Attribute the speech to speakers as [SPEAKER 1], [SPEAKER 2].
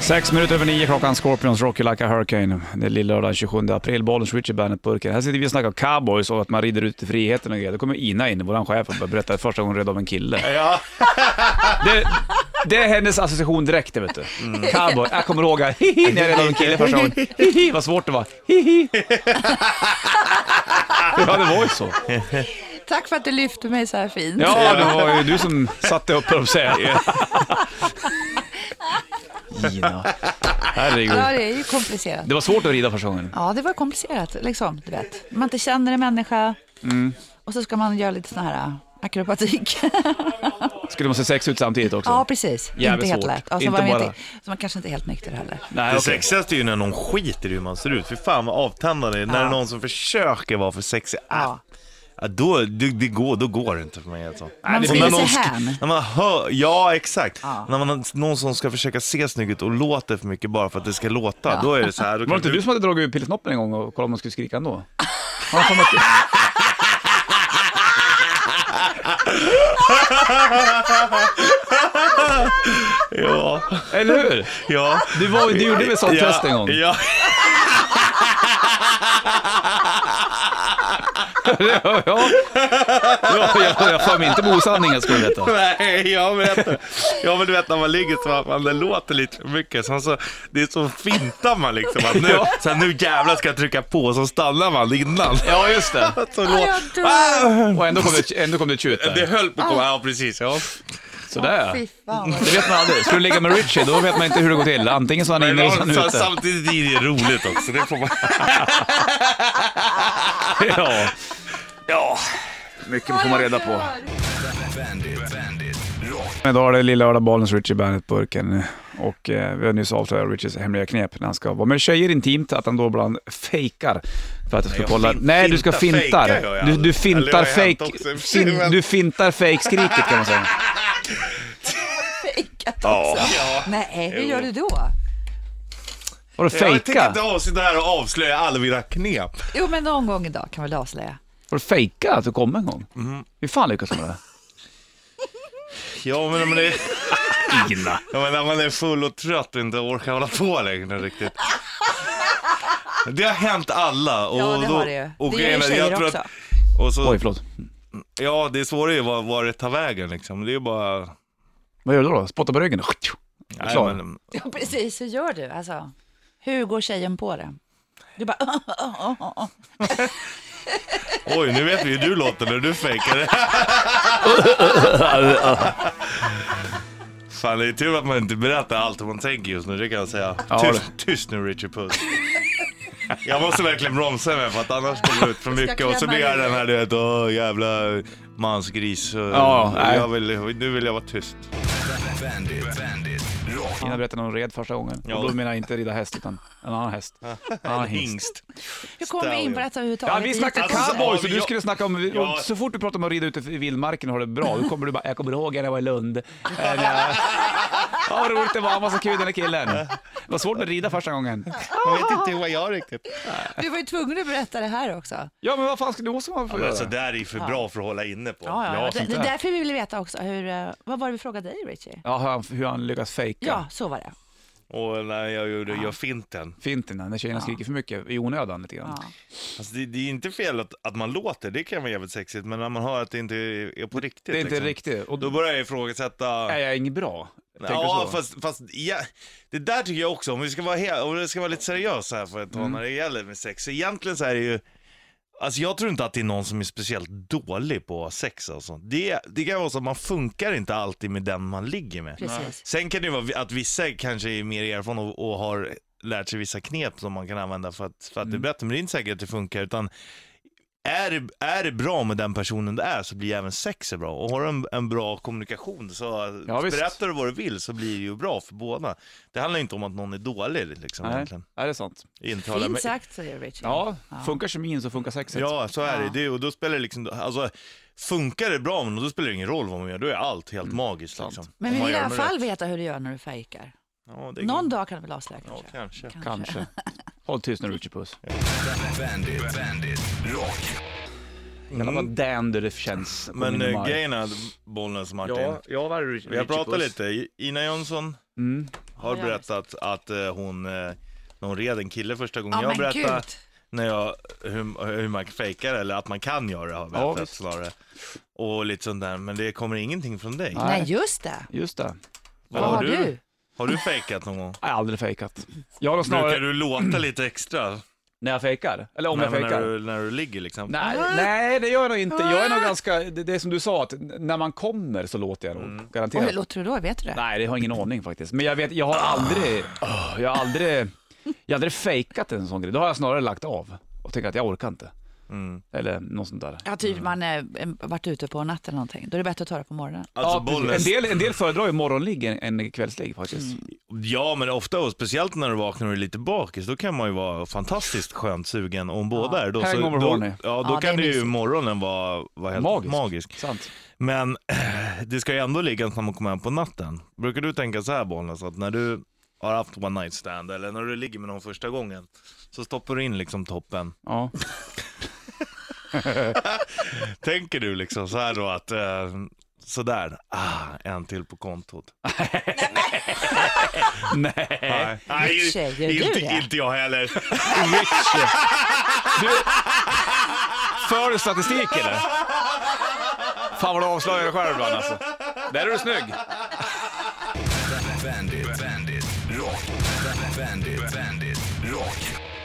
[SPEAKER 1] Sex minuter över nio klockan, Scorpions Rocky Like a Hurricane. Det är lillördag 27 april, Bollens Richie Bandet-burken. Här sitter vi och snackar cowboys och att man rider ut i friheten och grejer. Då kommer Ina in, vår chef, och börjar berätta första gången hon red av en kille.
[SPEAKER 2] Ja.
[SPEAKER 1] Det, det är hennes association direkt, det vet du. Cowboy. Jag kommer ihåg här, hihi, när jag red av en kille första gången. Hihi, vad svårt det var. Hihi. Ja, det var ju så.
[SPEAKER 3] Tack för att du lyfte mig så här fint.
[SPEAKER 1] Ja, det var ju du som satte upp, höll jag på att säga. Ina. Herregud.
[SPEAKER 3] Ja, det är ju komplicerat.
[SPEAKER 1] Det var svårt att rida första gången.
[SPEAKER 3] Ja, det var komplicerat, liksom, du vet. Man inte känner en människa
[SPEAKER 1] Mm.
[SPEAKER 3] och så ska man göra lite sån här äh, akrobatik.
[SPEAKER 1] Skulle man se sex ut samtidigt också?
[SPEAKER 3] ja, precis.
[SPEAKER 1] Jävligt
[SPEAKER 3] inte helt
[SPEAKER 1] svårt.
[SPEAKER 3] lätt. Och så
[SPEAKER 1] Inte
[SPEAKER 3] var man
[SPEAKER 1] bara-
[SPEAKER 3] inte, så man kanske inte är helt nykter heller.
[SPEAKER 1] Nej,
[SPEAKER 2] Det
[SPEAKER 1] okej.
[SPEAKER 2] sexigaste är ju när någon skiter i hur man ser ut. För fan vad avtändande det är. När det är någon som försöker vara för sexig. Ah.
[SPEAKER 3] Ja.
[SPEAKER 2] Ja, då, det, det går, då går det inte för mig alltså.
[SPEAKER 3] Man
[SPEAKER 2] Och
[SPEAKER 3] vill
[SPEAKER 2] när
[SPEAKER 3] se
[SPEAKER 2] någon sk-
[SPEAKER 3] hän.
[SPEAKER 2] När man hör, ja exakt. När man har någon som ska försöka se snygg ut och låter för mycket bara för att det ska låta. Då är det så här. Då
[SPEAKER 1] Var det
[SPEAKER 2] kan
[SPEAKER 1] inte
[SPEAKER 2] du-
[SPEAKER 1] du som hade dragit ur pillsnoppen en gång och kollat om man skulle skrika ändå? Har han kommit
[SPEAKER 2] Ja,
[SPEAKER 1] Eller hur?
[SPEAKER 2] ja.
[SPEAKER 1] Du, var, du gjorde väl sånt
[SPEAKER 2] ja,
[SPEAKER 1] test en gång?
[SPEAKER 2] Ja.
[SPEAKER 1] ja, ja. ja jag, jag för mig inte med osanningen skulle jag veta.
[SPEAKER 2] Nej, jag vet det. Ja, men du vet när man ligger så att man, det låter lite för mycket. Sen så, det är så fintar man liksom. Att nu,
[SPEAKER 1] Ja.
[SPEAKER 2] så här, nu jävlar ska jag trycka på och så stannar man innan.
[SPEAKER 1] Ja, just det.
[SPEAKER 2] Så
[SPEAKER 3] jag
[SPEAKER 2] låt-
[SPEAKER 3] dör.
[SPEAKER 2] Ah!
[SPEAKER 1] Och ändå kom det, ändå kom det ett tjut
[SPEAKER 2] Det
[SPEAKER 1] där.
[SPEAKER 2] höll på att komma. Ja, precis. Ja.
[SPEAKER 1] Sådär
[SPEAKER 3] Fy fan vad
[SPEAKER 1] Det vet man aldrig. Skulle du ligga med Richie, då vet man inte hur det går till. Antingen så är han inne eller så är han
[SPEAKER 2] Men
[SPEAKER 1] ute.
[SPEAKER 2] samtidigt är det roligt också. Det får man...
[SPEAKER 1] Ja. ja, mycket får man reda på. Idag är det lilla lördag, Bollnäs Richie Bandet-burken. Och eh, vi har nyss avslöjat Richies hemliga knep när han ska vara med tjejer intimt, att han då ibland fejkar. För att du ska
[SPEAKER 2] jag
[SPEAKER 1] kolla...
[SPEAKER 2] fin-
[SPEAKER 1] Nej, du ska
[SPEAKER 2] fintar. Fejkar gör
[SPEAKER 1] fintar.
[SPEAKER 2] jag
[SPEAKER 1] Du, du fintar
[SPEAKER 2] aldrig. Eller har jag hänt
[SPEAKER 1] fake...
[SPEAKER 2] också i och för sig,
[SPEAKER 1] fin-
[SPEAKER 2] men-
[SPEAKER 1] Du fintar fake-skriket kan man säga.
[SPEAKER 3] fejkat också. Nej, hur gör du då?
[SPEAKER 1] Vadå
[SPEAKER 2] Jag tänker
[SPEAKER 1] fejka?
[SPEAKER 2] inte avsluta här och avslöja alla mina knep.
[SPEAKER 3] Jo, men någon gång idag kan väl du avslöja.
[SPEAKER 1] Vadå fejka att du kom en gång?
[SPEAKER 2] Mhm.
[SPEAKER 1] Hur fan lyckas du med det?
[SPEAKER 2] Ja, men när man är,
[SPEAKER 1] Ina.
[SPEAKER 2] ja, men när man är full och trött och inte orkar hålla på längre riktigt. Det har hänt alla. Och
[SPEAKER 3] Ja, det
[SPEAKER 2] då,
[SPEAKER 3] har det ju.
[SPEAKER 2] och
[SPEAKER 3] Det gör
[SPEAKER 2] grejen
[SPEAKER 3] ju
[SPEAKER 2] är- jag
[SPEAKER 3] tjejer
[SPEAKER 2] tror
[SPEAKER 3] också.
[SPEAKER 2] att- Och så,
[SPEAKER 1] Oj, förlåt.
[SPEAKER 2] ja, det svåra är ju var, var det tar vägen liksom. Det är ju bara...
[SPEAKER 1] Vad gör du då? Spotta på ryggen?
[SPEAKER 2] Nej,
[SPEAKER 1] Klar.
[SPEAKER 2] men-
[SPEAKER 3] Ja, precis. Hur gör du? Alltså, hur går tjejen på det? Du bara...
[SPEAKER 2] Oj, nu vet vi hur du låter när du fejkar det. Fan, det är tur att man inte berättar allt vad man tänker just nu, det kan jag säga.
[SPEAKER 1] Ja,
[SPEAKER 2] tyst, tyst nu Richard Puss. Jag måste verkligen bromsa mig för att annars kommer det ut för mycket och så blir jag den här du vet, åh jävla mansgris.
[SPEAKER 1] Ja, nej.
[SPEAKER 2] jag vill, nu vill jag vara tyst.
[SPEAKER 1] Ina berättade när hon red första gången.
[SPEAKER 2] Ja.
[SPEAKER 1] Och då menar jag inte rida häst, utan en annan häst. En annan hingst.
[SPEAKER 2] Hingst.
[SPEAKER 3] Hur kommer vi in på detta överhuvudtaget? Alltså,
[SPEAKER 1] Ja, vi snackade
[SPEAKER 3] Det är jättekonstigt.
[SPEAKER 1] cowboys och du
[SPEAKER 2] Alltså, Ja,
[SPEAKER 1] skulle snacka om...
[SPEAKER 2] Ja.
[SPEAKER 1] och Så fort du pratar om att rida ute i vildmarken och ha det bra, då kommer du bara “Jag kommer ihåg när jag var i Lund”. Eller, Ja, vad roligt det var, han var så kul den där killen. Det var svårt att rida första gången.
[SPEAKER 2] Jag vet inte vad jag riktigt...
[SPEAKER 3] Du var ju tvungen att berätta det här också.
[SPEAKER 1] Ja, men vad fan ska du måste man få
[SPEAKER 2] Men alltså, så
[SPEAKER 1] göra?
[SPEAKER 2] där är ju för bra för att hålla inne på.
[SPEAKER 3] Ja, ja,
[SPEAKER 1] Ja,
[SPEAKER 3] ja.
[SPEAKER 1] sånt
[SPEAKER 3] Det, det
[SPEAKER 1] där.
[SPEAKER 3] är därför vi vill veta också hur, eh, vad var det vi frågade dig Richie?
[SPEAKER 1] Ja, hur han, hur han lyckas fejka.
[SPEAKER 3] Ja, så var det.
[SPEAKER 2] Och när jag gjorde, gör finten.
[SPEAKER 1] Fint innan, när tjejerna skriker för mycket i onödan lite grann.
[SPEAKER 3] Ja.
[SPEAKER 2] Alltså det, det är inte fel att, att man låter, det kan vara jävligt sexigt, men när man hör att det inte är är på riktigt.
[SPEAKER 1] Det är inte
[SPEAKER 2] liksom,
[SPEAKER 1] riktigt. Och
[SPEAKER 2] Då
[SPEAKER 1] då
[SPEAKER 2] börjar jag ifrågasätta...
[SPEAKER 1] är jag inget bra. Tänker
[SPEAKER 2] Ja,
[SPEAKER 1] du så?
[SPEAKER 2] fast, fast ja, det där tycker jag också, om vi ska vara, he- om vi ska vara lite seriösa här för ett tag
[SPEAKER 1] Mm.
[SPEAKER 2] när det gäller med sex, så egentligen så är det ju Alltså jag tror inte att det är någon som är speciellt dålig på sex alltså. Det, det kan vara så att man funkar inte alltid med den man ligger med.
[SPEAKER 3] Precis.
[SPEAKER 2] Sen kan det ju vara att vissa kanske är mer erfarna och, och har lärt sig vissa knep som man kan använda för att, för att
[SPEAKER 1] Mm.
[SPEAKER 2] det är bättre, men det är inte säkert att det funkar utan är det, är det bra med den personen det är så blir även sexet bra. Och har du en, en bra kommunikation så
[SPEAKER 1] Ja, visst.
[SPEAKER 2] berättar du vad du vill så blir det ju bra för båda. Det handlar inte om att någon är dålig liksom
[SPEAKER 1] Nej,
[SPEAKER 2] egentligen.
[SPEAKER 1] är det är sant?
[SPEAKER 3] Typ.
[SPEAKER 2] Intala
[SPEAKER 3] Fint
[SPEAKER 2] mig.
[SPEAKER 3] sagt säger Richie.
[SPEAKER 1] Ja, funkar kemin så funkar sexet.
[SPEAKER 2] Ja, så är det. det. är- Och då spelar det liksom, alltså funkar det bra men då spelar det ingen roll vad man gör, då är allt helt
[SPEAKER 1] Mm.
[SPEAKER 2] magiskt
[SPEAKER 1] sant.
[SPEAKER 2] liksom.
[SPEAKER 3] Men
[SPEAKER 2] Om
[SPEAKER 3] vi
[SPEAKER 2] man
[SPEAKER 3] vill i
[SPEAKER 2] gör
[SPEAKER 3] alla
[SPEAKER 2] det
[SPEAKER 3] fall
[SPEAKER 2] rätt.
[SPEAKER 3] veta hur du gör när du fejkar.
[SPEAKER 2] Ja, det är-
[SPEAKER 3] Någon dag kan du väl avslöja
[SPEAKER 2] Ja,
[SPEAKER 3] kanske?
[SPEAKER 2] kanske.
[SPEAKER 1] Kanske. Håll tyst nu Richie Puss. Jävlar vad dander det känns. att komma in
[SPEAKER 2] Mm. Men
[SPEAKER 1] i
[SPEAKER 2] eh,
[SPEAKER 1] maj.
[SPEAKER 2] grejen är, Bollnäs Martin,
[SPEAKER 1] ja, vad är det Richie
[SPEAKER 2] vi har pratat
[SPEAKER 1] Puss?
[SPEAKER 2] lite. I- Ina Jönsson
[SPEAKER 1] Mm.
[SPEAKER 2] har har
[SPEAKER 3] Ja,
[SPEAKER 2] berättat att eh, hon, eh, när hon red en kille första gången.
[SPEAKER 3] Ja,
[SPEAKER 2] jag
[SPEAKER 3] men
[SPEAKER 2] berättade
[SPEAKER 3] gud.
[SPEAKER 2] när jag, hur, hur man fejkar eller att man kan göra det har jag
[SPEAKER 1] Ja,
[SPEAKER 2] berättat
[SPEAKER 1] visst.
[SPEAKER 2] snarare. Och lite sånt där, men det kommer ingenting från dig.
[SPEAKER 1] Nej.
[SPEAKER 3] Nej, just det.
[SPEAKER 1] Just det.
[SPEAKER 2] Vad
[SPEAKER 3] Vad har du?
[SPEAKER 2] Har du fejkat någon gång?
[SPEAKER 1] Jag har aldrig fejkat. Jag har nog
[SPEAKER 2] Brukar
[SPEAKER 1] snarare...
[SPEAKER 2] du låta lite extra?
[SPEAKER 1] När jag fejkar? Eller om
[SPEAKER 2] Nej,
[SPEAKER 1] jag
[SPEAKER 2] men
[SPEAKER 1] fejkar?
[SPEAKER 2] När du, när du ligger liksom?
[SPEAKER 1] Nej, nej, det gör jag nog inte. Jag är nog ganska... Det, det är som du sa, att n- när man kommer så låter jag nog.
[SPEAKER 2] Mm.
[SPEAKER 3] Och
[SPEAKER 1] Garanterat.
[SPEAKER 3] hur låter du då? Vet du det?
[SPEAKER 1] Nej, det har jag ingen aning faktiskt. Men jag vet, jag har aldrig, Åh, jag har aldrig, jag har aldrig fejkat en sån grej. Då har jag snarare lagt av och tänkt att jag orkar inte.
[SPEAKER 2] Mm. Alltså
[SPEAKER 1] Eller något sånt där.
[SPEAKER 3] Ja, typ man eh, varit ute på natten eller någonting. Då är det bättre att ta det på morgonen.
[SPEAKER 2] Alltså
[SPEAKER 1] ja,
[SPEAKER 2] bollen.
[SPEAKER 1] precis. en, del, en del föredrar ju morgonligg än än kvällsligg faktiskt.
[SPEAKER 2] Ja, men ofta och speciellt när du vaknar och är lite bakis, då kan man ju vara fantastiskt skönt sugen. Och om båda är då, så,
[SPEAKER 1] Hangover
[SPEAKER 2] då,
[SPEAKER 1] horny.
[SPEAKER 2] ja, då
[SPEAKER 3] Ja, det är
[SPEAKER 2] kan det ju
[SPEAKER 3] mysigt.
[SPEAKER 2] morgonen vara, vara helt
[SPEAKER 1] Magisk.
[SPEAKER 2] magisk.
[SPEAKER 1] Sant.
[SPEAKER 2] Men det ska ju ändå ligga när man kommer hem på natten. Brukar du tänka så här Bollnäs, att när du har haft one night stand eller när du ligger med någon första gången, så stoppar du in liksom toppen.
[SPEAKER 1] Ja.
[SPEAKER 2] Tänker du liksom så här då att, eh, sådär, ah, en till på kontot.
[SPEAKER 1] Nej.
[SPEAKER 2] Nej, Nej
[SPEAKER 3] Rich, gör du
[SPEAKER 2] inte,
[SPEAKER 3] det?
[SPEAKER 2] inte jag heller.
[SPEAKER 1] Rich. Du, för du statistik eller? Fan vad du avslöjar dig själv ibland alltså. Där är du snygg.
[SPEAKER 4] Bandit, bandit, rock. Bandit, bandit, rock.